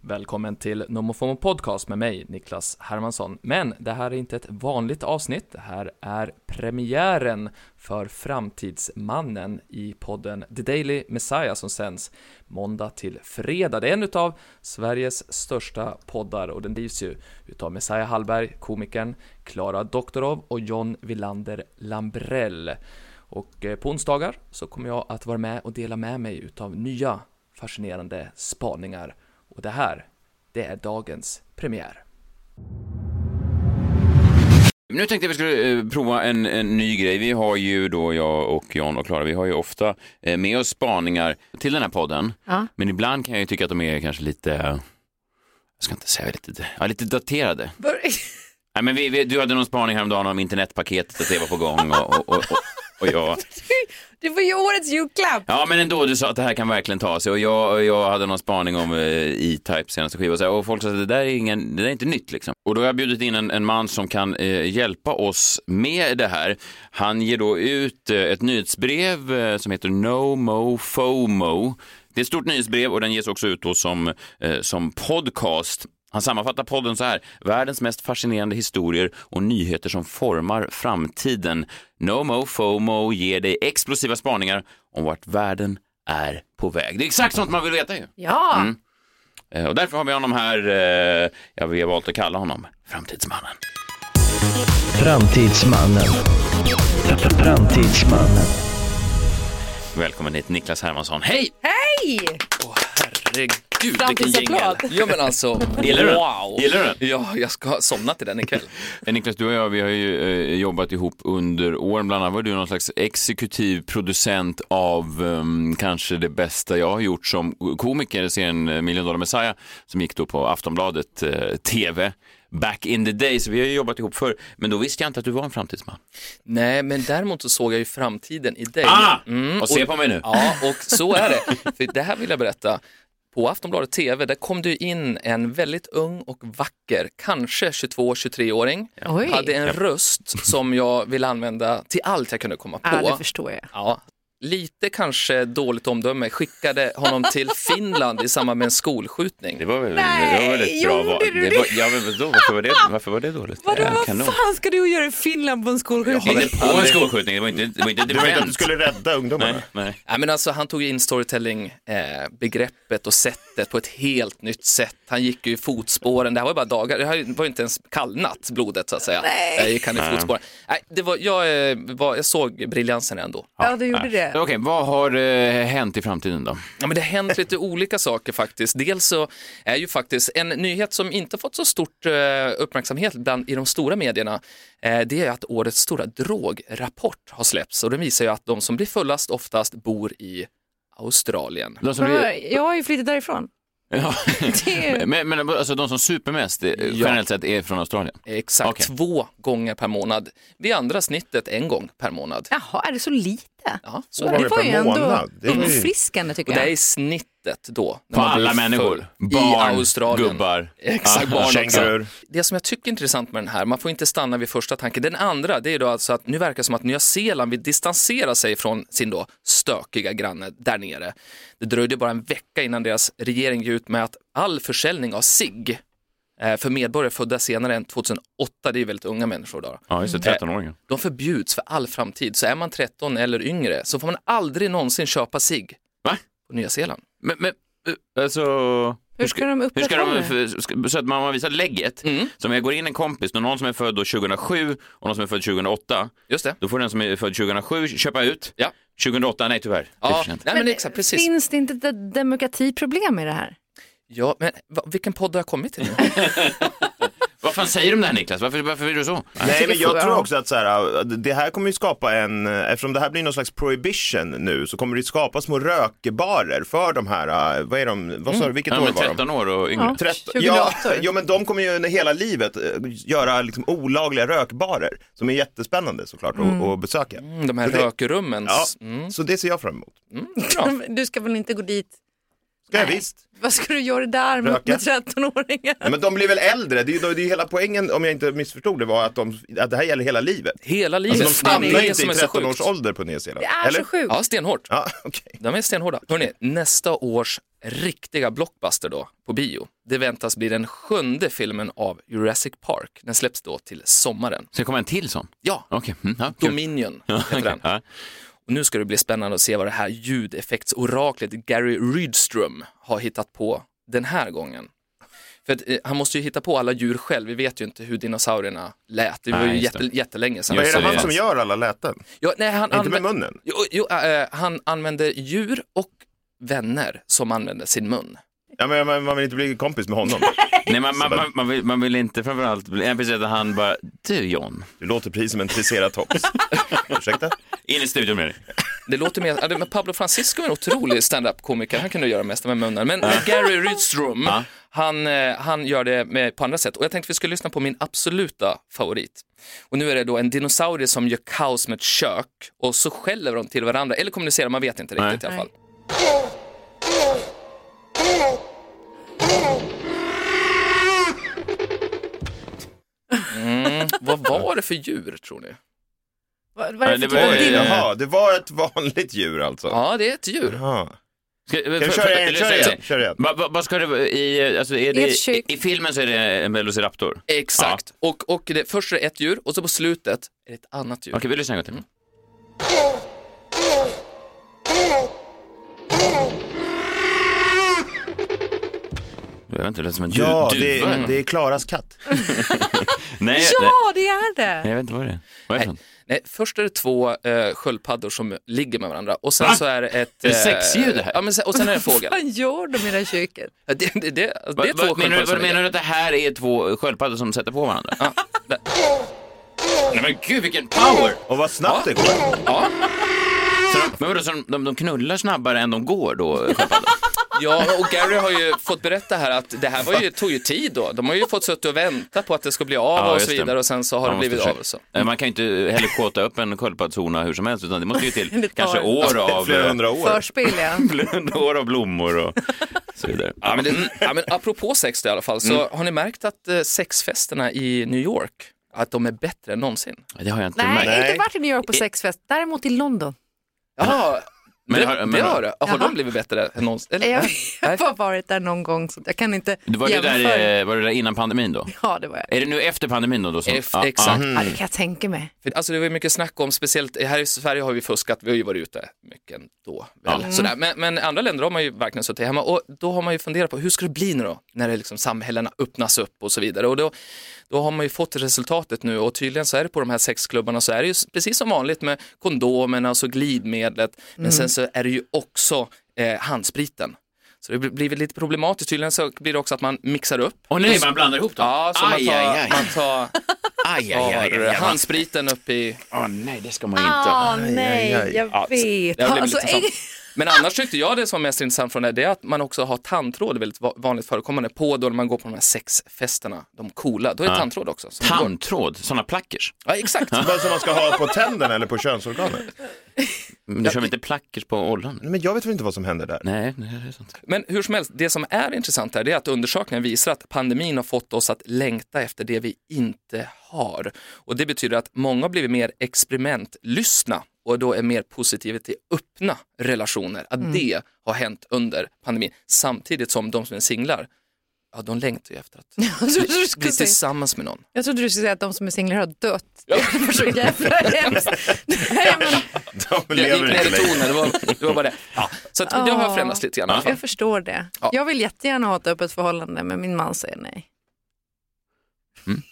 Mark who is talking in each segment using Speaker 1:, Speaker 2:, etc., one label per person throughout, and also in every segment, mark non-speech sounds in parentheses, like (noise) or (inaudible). Speaker 1: Välkommen till NomoFomo Podcast med mig, Niklas Hermansson. Men det här är inte ett vanligt avsnitt. Det här är premiären för Framtidsmannen i podden The Daily Messiah som sänds måndag till fredag. Det är en utav Sveriges största poddar och den drivs ju utav Messiah Hallberg, komikern, Klara Doktorov och John Villander Lambrell. Och eh, på onsdagar så kommer jag att vara med och dela med mig utav nya fascinerande spaningar. Och det här, det är dagens premiär.
Speaker 2: Nu tänkte jag att vi skulle eh, prova en, en ny grej. Vi har ju då, jag och Jan och Klara, vi har ju ofta eh, med oss spaningar till den här podden.
Speaker 3: Ja.
Speaker 2: Men ibland kan jag ju tycka att de är kanske lite, jag ska inte säga lite, ja, lite daterade.
Speaker 3: (laughs)
Speaker 2: Nej, men vi, vi, du hade någon spaning häromdagen om internetpaketet, att det var på gång och, och, och, och, och jag...
Speaker 3: Du får ju årets julklapp.
Speaker 2: Ja, men ändå, du sa att det här kan verkligen ta sig och jag, och jag hade någon spaning om eh, E-Type senaste skiva och, så här, och folk sa att det där, är ingen, det där är inte nytt liksom. Och då har jag bjudit in en, en man som kan eh, hjälpa oss med det här. Han ger då ut eh, ett nyhetsbrev eh, som heter No Mo FOMO. Det är ett stort nyhetsbrev och den ges också ut då som, eh, som podcast. Han sammanfattar podden så här. Världens mest fascinerande historier och nyheter som formar framtiden. Nomo FOMO ger dig explosiva spaningar om vart världen är på väg. Det är exakt sånt man vill veta ju.
Speaker 3: Ja,
Speaker 2: Eh, Och därför har vi honom här. eh, Ja, vi har valt att kalla honom Framtidsmannen.
Speaker 4: Framtidsmannen. Framtidsmannen.
Speaker 2: Välkommen hit Niklas Hermansson. Hej!
Speaker 3: hej!
Speaker 2: Herregud, vilken jingel.
Speaker 3: Framtidsapplåd.
Speaker 1: Ja men alltså,
Speaker 2: Gillar du den?
Speaker 1: wow!
Speaker 2: Gillar du den?
Speaker 1: Ja, jag ska somna till den
Speaker 2: (laughs)
Speaker 1: ikväll.
Speaker 2: Eh, Niklas, du och jag vi har ju eh, jobbat ihop under åren. Bland annat var du någon slags exekutiv producent av ehm, kanske det bästa jag har gjort som komiker, serien eh, Million Dollar Messiah, som gick då på Aftonbladet eh, TV back in the day. Så vi har ju jobbat ihop förr, men då visste jag inte att du var en framtidsman.
Speaker 1: Nej, men däremot så såg jag ju framtiden i dig. Mm.
Speaker 2: Ah! och se på mig nu.
Speaker 1: Ja, och så är det. För det här vill jag berätta. På Aftonbladet TV, där kom du in en väldigt ung och vacker, kanske 22-23-åring.
Speaker 3: Oj.
Speaker 1: Hade en röst som jag ville använda till allt jag kunde komma på.
Speaker 2: Ah,
Speaker 3: Ja, det förstår jag.
Speaker 1: Ja, lite kanske dåligt omdöme, skickade honom till Finland i samband med en skolskjutning.
Speaker 2: Det var väl
Speaker 3: Nej,
Speaker 2: det var väl ett bra
Speaker 3: gjorde
Speaker 2: val.
Speaker 3: du
Speaker 2: Det
Speaker 3: det?
Speaker 2: var, ja, men vadå, varför, var det, varför var det dåligt?
Speaker 3: Vadå,
Speaker 2: Eh,
Speaker 3: vad
Speaker 2: kanon.
Speaker 3: fan ska du och göra i Finland på en
Speaker 2: Det
Speaker 3: skolskjutning?
Speaker 2: var inte på en skolskjutning, det var inte, det var inte ett
Speaker 5: Du var inte att du
Speaker 2: event.
Speaker 5: skulle rädda ungdomarna?
Speaker 2: Nej, nej.
Speaker 1: Ja, men alltså, han tog in storytelling-begreppet och sättet på ett helt nytt sätt. Han gick ju i fotspåren, det här var ju bara dagar, det här var ju inte ens kallnat blodet så att säga.
Speaker 3: Nej.
Speaker 1: Där gick han i fotspåren. Nej, det var, jag, eh, var, jag såg briljansen ändå.
Speaker 3: Ja, du gjorde det.
Speaker 2: Okej, vad har eh, hänt i framtiden då?
Speaker 1: Ja, men det har hänt lite olika saker faktiskt. Dels så är ju faktiskt en nyhet som inte fått så stort eh, uppmärksamhet bland, i de stora medierna, eh, det är att årets stora drograpport har släppts och den visar ju att de som blir fullast oftast bor i Australien.
Speaker 2: De som blir,
Speaker 3: Men Jag har ju flyttat därifrån.
Speaker 2: (laughs) ja.
Speaker 3: Det är...
Speaker 2: men, men alltså de som super mest eh, generellt sett är från Australien?
Speaker 1: Exakt
Speaker 2: Okej.
Speaker 1: två gånger per månad. Vi andra snittet en gång per månad.
Speaker 3: Jaha, är det så lite?
Speaker 1: Ja, så
Speaker 5: Två
Speaker 1: är det.
Speaker 3: Det
Speaker 5: gånger
Speaker 3: var ju
Speaker 5: per
Speaker 3: ändå
Speaker 5: månad. Det var ju-
Speaker 3: uppfriskande
Speaker 1: Och
Speaker 3: tycker
Speaker 1: det
Speaker 3: jag.
Speaker 1: är snittet då. när
Speaker 2: På
Speaker 1: man blir
Speaker 2: alla
Speaker 1: full.
Speaker 2: människor?
Speaker 1: I Australien.
Speaker 2: gubbar?
Speaker 1: Exakt, barn också.
Speaker 5: Kängurur.
Speaker 1: Det som jag tycker är intressant med den här, man får inte stanna vid första tanken. Den andra, det är då alltså att nu verkar det som att Nya Zeeland vill distansera sig från sin då stökiga granne där nere. Det dröjde bara en vecka innan deras regering gick ut med att all försäljning av cigg eh, för medborgare födda senare än 2008, det är väldigt unga människor då,
Speaker 2: Ja, just det, 13-åringar.
Speaker 1: de förbjuds för all framtid. Så är man 13 eller yngre så får man aldrig någonsin köpa cigg
Speaker 2: Va?
Speaker 1: på Nya Zeeland.
Speaker 2: Men, men eh, alltså...
Speaker 3: Hur ska de
Speaker 2: Hur ska
Speaker 3: upprätthålla
Speaker 2: de,
Speaker 3: det?
Speaker 2: för, ska- så att man visar lägget. Så om jag går in en kompis, då någon som är född då 2007 och någon som är född 2008,
Speaker 1: Just det.
Speaker 2: då får den som är född 2007 köpa ut.
Speaker 1: Ja.
Speaker 2: 2008, nej tyvärr. Det är
Speaker 1: Ja,
Speaker 2: för
Speaker 1: nej,
Speaker 2: sent.
Speaker 1: men exakt, precis.
Speaker 3: Finns det inte ett de- demokratiproblem i det här?
Speaker 1: Ja, men va- vilken podd har jag kommit till? nu?
Speaker 2: Vad fan säger du om det här Niklas? Varför, varför är du så?
Speaker 5: Nej,
Speaker 3: tycker
Speaker 5: men jag
Speaker 3: jag-
Speaker 5: tror också att så här, det här kommer ju skapa en, eftersom det här blir någon slags prohibition nu, så kommer det skapa små rökbarer för de här, äh, vad är de, vad
Speaker 1: Mm.
Speaker 5: sa du, vilket
Speaker 2: Ja,
Speaker 5: år
Speaker 2: men
Speaker 5: var de?
Speaker 2: 13 år och yngre.
Speaker 3: Ja.
Speaker 5: Trett-
Speaker 3: 28
Speaker 5: ja,
Speaker 3: år.
Speaker 5: ja, men de kommer ju under hela livet eh, göra liksom olagliga rökbarer som är jättespännande såklart att- att besöka.
Speaker 1: Mm, De här
Speaker 5: Så det-
Speaker 1: rökrummen.
Speaker 5: Ja,
Speaker 1: Mm,
Speaker 3: (laughs)
Speaker 5: så det ser jag fram emot.
Speaker 1: bra.
Speaker 3: Du ska väl inte gå dit
Speaker 5: Ska jag
Speaker 3: Nej.
Speaker 5: visst.
Speaker 3: Vad ska du göra där med,
Speaker 5: Röka.
Speaker 3: med 13-åringar?
Speaker 5: Nej, men de blir väl äldre, det är ju det är ju hela poängen om jag inte missförstod det var att, de, att det här gäller hela livet.
Speaker 1: Hela livet.
Speaker 5: Alltså, de
Speaker 1: Det är
Speaker 5: stannar
Speaker 1: det
Speaker 5: inte i
Speaker 1: som är så
Speaker 5: 13 års
Speaker 1: sjukt.
Speaker 5: ålder på Nya Zeeland.
Speaker 3: Det är
Speaker 5: Eller?
Speaker 3: så sjukt.
Speaker 1: Ja, stenhårt.
Speaker 5: Ja, okej.
Speaker 1: De är stenhårda. Hörrni, nästa års riktiga blockbuster då på bio. Det väntas bli den sjunde filmen av Jurassic Park. Den släpps då till sommaren.
Speaker 2: Ska det komma en till sån?
Speaker 1: Ja,
Speaker 2: Okej. Mm, ja, kul.
Speaker 1: Dominion
Speaker 2: Ja,
Speaker 1: heter den.
Speaker 2: okej. Ja.
Speaker 1: Och nu ska det bli spännande att se vad det här ljudeffektsoraklet Gary Rydström har hittat på den här gången. För att, eh, han måste ju hitta på alla djur själv, vi vet ju inte hur dinosaurierna lät, det var
Speaker 2: Nej,
Speaker 1: ju
Speaker 2: just det.
Speaker 1: jätte, jättelänge sedan.
Speaker 5: Vad
Speaker 2: Just
Speaker 5: är det
Speaker 2: det,
Speaker 5: han
Speaker 2: det
Speaker 5: som
Speaker 2: är-
Speaker 5: gör alla läten?
Speaker 1: Ja, nej, han
Speaker 5: Inte med
Speaker 1: anvä-
Speaker 5: munnen?
Speaker 1: jo, jo, eh, han använder djur och vänner som använder sin mun.
Speaker 5: Ja, men man, man vill inte bli kompis med honom.
Speaker 2: Nej, man, man, man, man, vill, man vill inte framförallt, bli- jag vill säga att han bara, du John,
Speaker 5: Du låter precis som
Speaker 1: (laughs)
Speaker 5: en triceratops. Ursäkta?
Speaker 2: in i studion med dig.
Speaker 1: Det låter mer, ja, det- men Pablo Francisco är en otrolig stand-up komiker han kunde göra mest med munnen. Men men Gary Rydström, han, eh, han gör det med, på andra sätt. Och jag tänkte vi skulle lyssna på min absoluta favorit. Och nu är det då en dinosaurie som gör kaos med ett kök och så skäller de till varandra, eller kommunicerar, man vet inte riktigt i alla fall. Mm, vad var det för djur tror ni?
Speaker 3: Vad, vad är det
Speaker 2: Nej,
Speaker 3: för
Speaker 2: det var-
Speaker 3: typ av
Speaker 2: Eh.
Speaker 3: dino?
Speaker 5: Jaha, det var ett vanligt djur alltså.
Speaker 1: Ja, det är ett djur.
Speaker 5: Jaha.
Speaker 2: Ska,
Speaker 5: Kan vi köra igen? Kör igen. Kör igen.
Speaker 2: Vad va, vad ska det vara i, alltså är
Speaker 3: är
Speaker 2: det,
Speaker 3: ett
Speaker 2: i,
Speaker 3: kök.
Speaker 2: i filmen så är det en velociraptor? Okej,
Speaker 1: Exakt. Och, och det, först är det ett djur och så på slutet är det ett annat djur.
Speaker 2: vi lyssnar en gång till. Jag vet inte, det lät som en du,
Speaker 5: Ja,
Speaker 2: duva.
Speaker 5: det, är- det är Klaras katt.
Speaker 2: Nej, nej,
Speaker 3: Ja, det är
Speaker 2: nej,
Speaker 3: det!
Speaker 2: jag vet inte vad det är. Vad är det för något?
Speaker 1: Nej, först är det två eh, sköldpaddor som ligger med varandra och sen
Speaker 2: Va?
Speaker 1: så är det ett... eh,
Speaker 2: Är det sexdjur det här?
Speaker 1: Ja, men sen, och sen är
Speaker 2: (laughs)
Speaker 1: det en fågel.
Speaker 3: Vad gör de i det här köket?
Speaker 1: Ja, Det, det, det, det är
Speaker 2: Vad-
Speaker 1: två
Speaker 2: vad, menar, du,
Speaker 1: sköldpaddor som
Speaker 2: vad menar
Speaker 1: ligger.
Speaker 2: du att det här är två sköldpaddor som sätter på varandra?
Speaker 1: Ja, där.
Speaker 2: Nej men gud vilken power!
Speaker 5: Och vad snabbt det går.
Speaker 2: Så de, men vadå, så de, de, de knullar snabbare än de går då, sköldpaddor?
Speaker 1: ja, och Gary har ju fått berätta här att det här var ju, tog ju tid då. De har ju fått suttit och vänta på att det ska bli av
Speaker 2: Ja,
Speaker 1: och
Speaker 2: just
Speaker 1: så
Speaker 2: det.
Speaker 1: vidare och sen så (laughs) har
Speaker 2: Man
Speaker 1: det
Speaker 2: måste
Speaker 1: blivit av.
Speaker 2: försöka-
Speaker 1: Och så.
Speaker 2: Nej, Man kan ju inte heller kåta upp en sköldpaddshona hur som helst utan det måste ju till
Speaker 3: Det tar-
Speaker 2: kanske
Speaker 5: (laughs)
Speaker 2: år av, eh,
Speaker 5: Flera hundra år.
Speaker 3: Förspel, ja.
Speaker 2: (laughs) flera år av blommor och så vidare. Mm,
Speaker 1: Ja, men, det, ja, men apropå sex då i alla fall, så har ni märkt att eh, sexfesterna i New York, att de är bättre än någonsin?
Speaker 2: Det har jag inte
Speaker 3: Nej,
Speaker 2: märkt.
Speaker 5: Nej.
Speaker 3: inte varit i New York på sexfest, däremot i London.
Speaker 1: Ja,
Speaker 2: Men
Speaker 1: det,
Speaker 2: har- men
Speaker 1: det
Speaker 2: har-
Speaker 1: har det. Har
Speaker 3: Jaha.
Speaker 1: de blivit bättre än någonsin? Eller?
Speaker 3: Jag
Speaker 1: Nej.
Speaker 3: (laughs) har bara varit där någon gång, så jag kan inte
Speaker 2: Du Var det,
Speaker 3: jämföra.
Speaker 2: där, eh, var det där innan pandemin då?
Speaker 3: Ja, det var jag.
Speaker 2: Är det nu efter pandemin då? då som,
Speaker 1: F-
Speaker 2: Ja, ja.
Speaker 1: exakt.
Speaker 3: Ja, det kan jag tänka mig.
Speaker 1: För, alltså det var ju mycket snack om, speciellt här i Sverige har vi fuskat, vi har ju varit ute mycket ändå. Väl,
Speaker 2: Mm.
Speaker 1: sådär. Men, men andra länder har man ju verkligen suttit hemma och då har man ju funderat på hur ska det bli nu då, när det liksom samhällena öppnas upp och så vidare. Och då, då har man ju fått resultatet nu och tydligen så är det på de här sexklubbarna så är det ju s- precis som vanligt med kondomerna och så glidmedlet, men
Speaker 2: Mm.
Speaker 1: sen så är det ju också eh, handspriten. Så det blir- blir väl lite problematiskt, tydligen så blir det också att man mixar upp.
Speaker 2: Åh nej, man blandar ihop dem.
Speaker 1: Ja, så man
Speaker 2: aj,
Speaker 1: tar,
Speaker 2: aj, aj.
Speaker 1: man tar
Speaker 2: (laughs) aj,
Speaker 1: tar
Speaker 2: aj, aj, aj, aj.
Speaker 1: handspriten upp i
Speaker 2: Åh nej, det ska man inte.
Speaker 3: Ah, nej,
Speaker 5: aj, aj.
Speaker 3: jag vet.
Speaker 1: Jag blev
Speaker 3: Alltså,
Speaker 1: lite sån.
Speaker 3: eng-
Speaker 1: Men annars tyckte jag det som var mest intressant från det, det är att man också har tandtråd, väldigt va- vanligt förekommande, på då när man går på de här sexfesterna, de coola, då är det tandtråd också. som går.
Speaker 2: Tandtråd, sådana plackers.
Speaker 1: Ja, exakt.
Speaker 5: Bara som man ska ha på tänderna eller på könsorganet.
Speaker 2: Men du kör väl inte plackers på ollan?
Speaker 5: Nej, Men jag vet väl inte vad som händer där.
Speaker 2: Nej, nej, det är sant.
Speaker 1: Men hur som helst, det som är intressant här, det är att undersökningen visar att pandemin har fått oss att längta efter det vi inte har. Och det betyder att många har blivit mer experimentlystna och då är mer positiva till öppna relationer, att det har hänt under pandemin. Samtidigt som de som är singlar, ja de längtar ju efter att
Speaker 3: (laughs) Jag trodde du skulle
Speaker 1: bli
Speaker 3: säga-
Speaker 1: tillsammans med någon.
Speaker 3: jag trodde du skulle säga att de som är singlar har dött. Det var så jävla hemskt. Nej, men
Speaker 5: De
Speaker 1: Det gick
Speaker 5: lever
Speaker 1: ner
Speaker 5: inte
Speaker 1: i
Speaker 5: längre.
Speaker 1: tonen, det var, det var bara det. Ja. Så att det
Speaker 3: Ah.
Speaker 1: har förändrats lite grann. i alla fall.
Speaker 3: jag förstår det.
Speaker 1: Ja.
Speaker 3: Jag vill jättegärna ha ett öppet förhållande, men min man säger nej.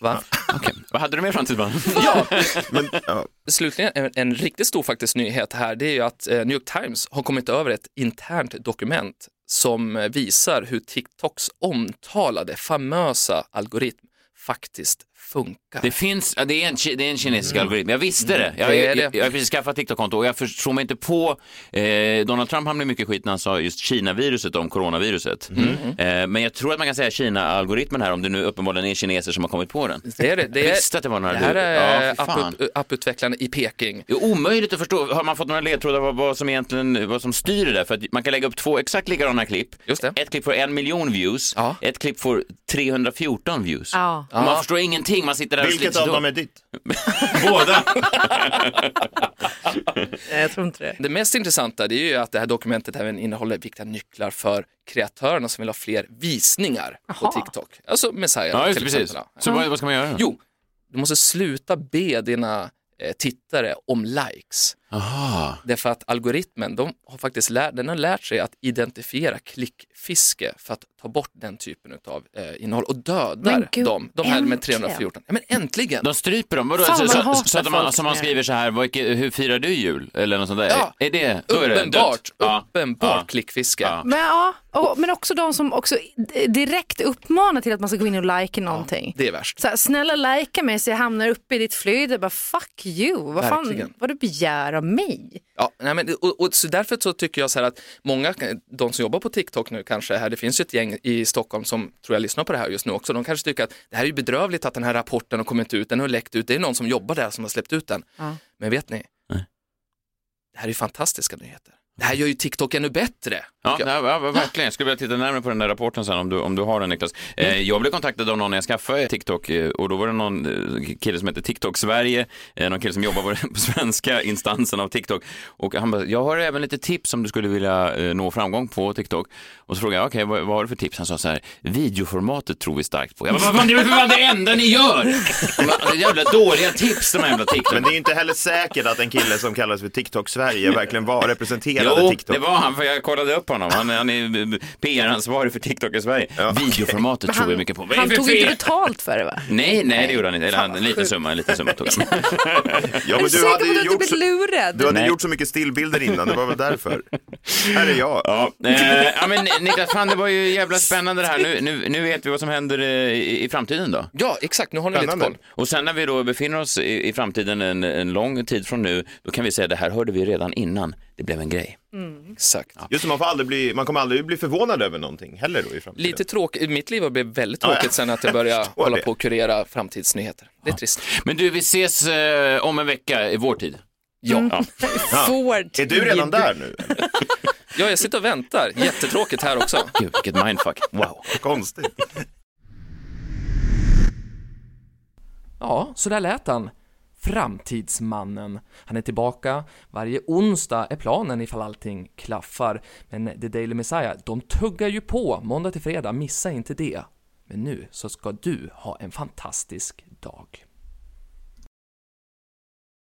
Speaker 1: Va?
Speaker 2: Okej. Vad hade du mer fram till man?
Speaker 1: Ja,
Speaker 5: Men, ja.
Speaker 1: slutligen en, en riktigt stor faktiskt nyhet här, det är ju att eh, New York Times har kommit över ett internt dokument som eh, visar hur TikToks omtalade famösa algoritm faktiskt funkar.
Speaker 2: Det finns, ja, det är en, ki- det är en kinesisk algoritm, jag visste det. Jag,
Speaker 1: Det är
Speaker 2: jag,
Speaker 1: Mm. det.
Speaker 2: jag, har precis skaffat TikTok-konto och jag förstår mig inte på, eh, Donald Trump hamnade i mycket skit när han sa just Kina-viruset om coronaviruset.
Speaker 1: Mm.
Speaker 2: Eh, men jag tror att man kan säga Kina-algoritmen här om det nu uppenbarligen är kineser som har kommit på den.
Speaker 1: Det är det. Det, är,
Speaker 2: Visste att det var några
Speaker 1: det här är
Speaker 2: lurar. Ja, för fan.
Speaker 1: app- apputvecklarna i Peking.
Speaker 2: Det är omöjligt att förstå, har man fått några ledtrådar vad, vad som egentligen, vad som styr det där? För att man kan lägga upp två exakt likadana klipp.
Speaker 1: Just det.
Speaker 2: Ett klipp får en miljon views,
Speaker 1: Ja.
Speaker 2: ett klipp får 314 views.
Speaker 3: Ja.
Speaker 2: Och Man förstår ingenting, man sitter där och
Speaker 5: Vilket
Speaker 2: sliter
Speaker 5: av
Speaker 2: sig
Speaker 5: dem
Speaker 2: då.
Speaker 5: är ditt?
Speaker 2: Båda!
Speaker 3: Nej, jag tror inte det.
Speaker 1: Det mest intressanta det är ju att det här dokumentet även innehåller viktiga nycklar för kreatörerna som vill ha fler visningar på
Speaker 3: Jaha.
Speaker 1: TikTok. Alltså Messiah
Speaker 2: Ja, just det,
Speaker 1: till
Speaker 2: precis.
Speaker 1: exempel.
Speaker 2: Så vad, vad ska man göra?
Speaker 1: Jo, du måste sluta be dina eh, tittare om likes.
Speaker 2: Aha.
Speaker 1: Därför att algoritmen, de har faktiskt lär, den har lärt sig att identifiera klickfiske för att ta bort den typen av eh, innehåll och dödar
Speaker 3: Men gud,
Speaker 1: dem. De här med
Speaker 3: äntligen.
Speaker 1: 314. Ja, men äntligen!
Speaker 2: De stryper dem? Vadå?
Speaker 3: Fan,
Speaker 2: Så,
Speaker 3: vad
Speaker 2: så,
Speaker 3: hatar
Speaker 2: så, att man,
Speaker 3: folk
Speaker 2: så man
Speaker 3: nu.
Speaker 2: skriver så här, vad, hur firar du jul? Eller något sånt där?
Speaker 1: Ja.
Speaker 2: Är det, då är det
Speaker 1: Uppenbart,
Speaker 2: dött. Ja.
Speaker 1: uppenbart
Speaker 2: Ja.
Speaker 1: klickfiske.
Speaker 2: Ja.
Speaker 3: Men, ja, och, men också de som också d- direkt uppmanar till att man ska gå in och like någonting.
Speaker 1: Det är värst.
Speaker 3: Så här, snälla likea mig så jag hamnar uppe i ditt flöde. Bara fuck you, vad
Speaker 1: Verkligen.
Speaker 3: fan vad du begär av mig.
Speaker 1: Ja, nej men, och, och, så därför så tycker jag så här att många, de som jobbar på TikTok nu kanske här, det finns ju ett gäng i Stockholm som tror jag lyssnar på det här just nu också, de kanske tycker att det här är ju bedrövligt att den här rapporten har kommit ut, den har läckt ut, det är någon som jobbar där som har släppt ut den.
Speaker 3: Ja.
Speaker 1: Men vet ni?
Speaker 2: Nej.
Speaker 1: Det här är ju fantastiska nyheter. Det här gör ju TikTok ännu bättre.
Speaker 2: Ja,
Speaker 1: tycker jag.
Speaker 2: nej, ja, verkligen. Jag skulle vilja titta närmare på den där rapporten sen om du, om du har den Niklas. Eh, jag blev kontaktad av någon när jag skaffade TikTok eh, och då var det någon eh, kille som hette TikTok Sverige, eh, någon kille som jobbar på den svenska instansen av TikTok. Och han bara, jag har även lite tips om du skulle vilja eh, nå framgång på TikTok. Och så frågade jag, okej vad, vad har du för tips? Han sa så här, videoformatet tror vi starkt på. Jag bara, vad fan det är väl för fan det enda ni gör! (laughs) De här- alltså, jävla dåliga tips de här jävla TikTok.
Speaker 5: Men det är ju inte heller säkert att en kille som kallas för TikTok Sverige verkligen var representerade
Speaker 2: Jo,
Speaker 5: TikTok.
Speaker 2: det var han, för jag kollade upp honom. Han, han är PR-ansvarig för TikTok i Sverige. Videoformatet tror vi mycket på. Vad är
Speaker 3: han
Speaker 2: det för
Speaker 3: tog inte
Speaker 2: fel?
Speaker 3: betalt för det va?
Speaker 2: Nej, nej det gjorde han inte. Eller han,
Speaker 3: Fan,
Speaker 2: en
Speaker 3: vad
Speaker 2: liten
Speaker 3: sjukt.
Speaker 2: summa, en liten summa tog han.
Speaker 3: (laughs)
Speaker 5: ja,
Speaker 3: är
Speaker 5: men
Speaker 3: du
Speaker 5: du
Speaker 3: säker på att
Speaker 5: hade
Speaker 3: du
Speaker 5: ju
Speaker 3: inte
Speaker 5: gjort
Speaker 3: blivit
Speaker 5: så,
Speaker 3: lurad?
Speaker 5: du hade
Speaker 2: Nej.
Speaker 5: gjort så mycket stillbilder innan, det var väl därför. Här är jag.
Speaker 2: Ja, eh, ja men Niklas, fan det var ju jävla spännande det här. Nu, nu, nu vet vi vad som händer eh, i, i framtiden då.
Speaker 1: Ja, exakt, nu har ni lite
Speaker 5: Spännande.
Speaker 1: koll.
Speaker 2: Och sen när vi då befinner oss i, i framtiden en, en lång tid från nu, då kan vi säga det här hörde vi redan innan det blev en grej.
Speaker 1: Exakt.
Speaker 5: Just det, man, får aldrig bli, man kommer aldrig bli förvånad över någonting heller då i framtiden.
Speaker 1: Lite tråkigt, mitt liv har blivit väldigt tråkigt sen att jag började
Speaker 5: (laughs) förstår
Speaker 1: hålla
Speaker 5: det.
Speaker 1: på och kurera framtidsnyheter. Det är trist.
Speaker 2: Men du, vi ses eh, om en vecka i vår tid.
Speaker 1: Ja.
Speaker 3: Mm. Ford.
Speaker 5: Är du redan där nu?
Speaker 1: ja, jag sitter och väntar. Jättetråkigt här också.
Speaker 2: Gud, vilket mindfuck.
Speaker 3: (laughs)
Speaker 2: Wow.
Speaker 5: Konstigt.
Speaker 1: Ja, så där lät han. Framtidsmannen. Han är tillbaka. Varje onsdag är planen ifall allting klaffar. Men The Daily Messiah, de tuggar ju på måndag till fredag, missa inte det. Men nu så ska du ha en fantastisk dag.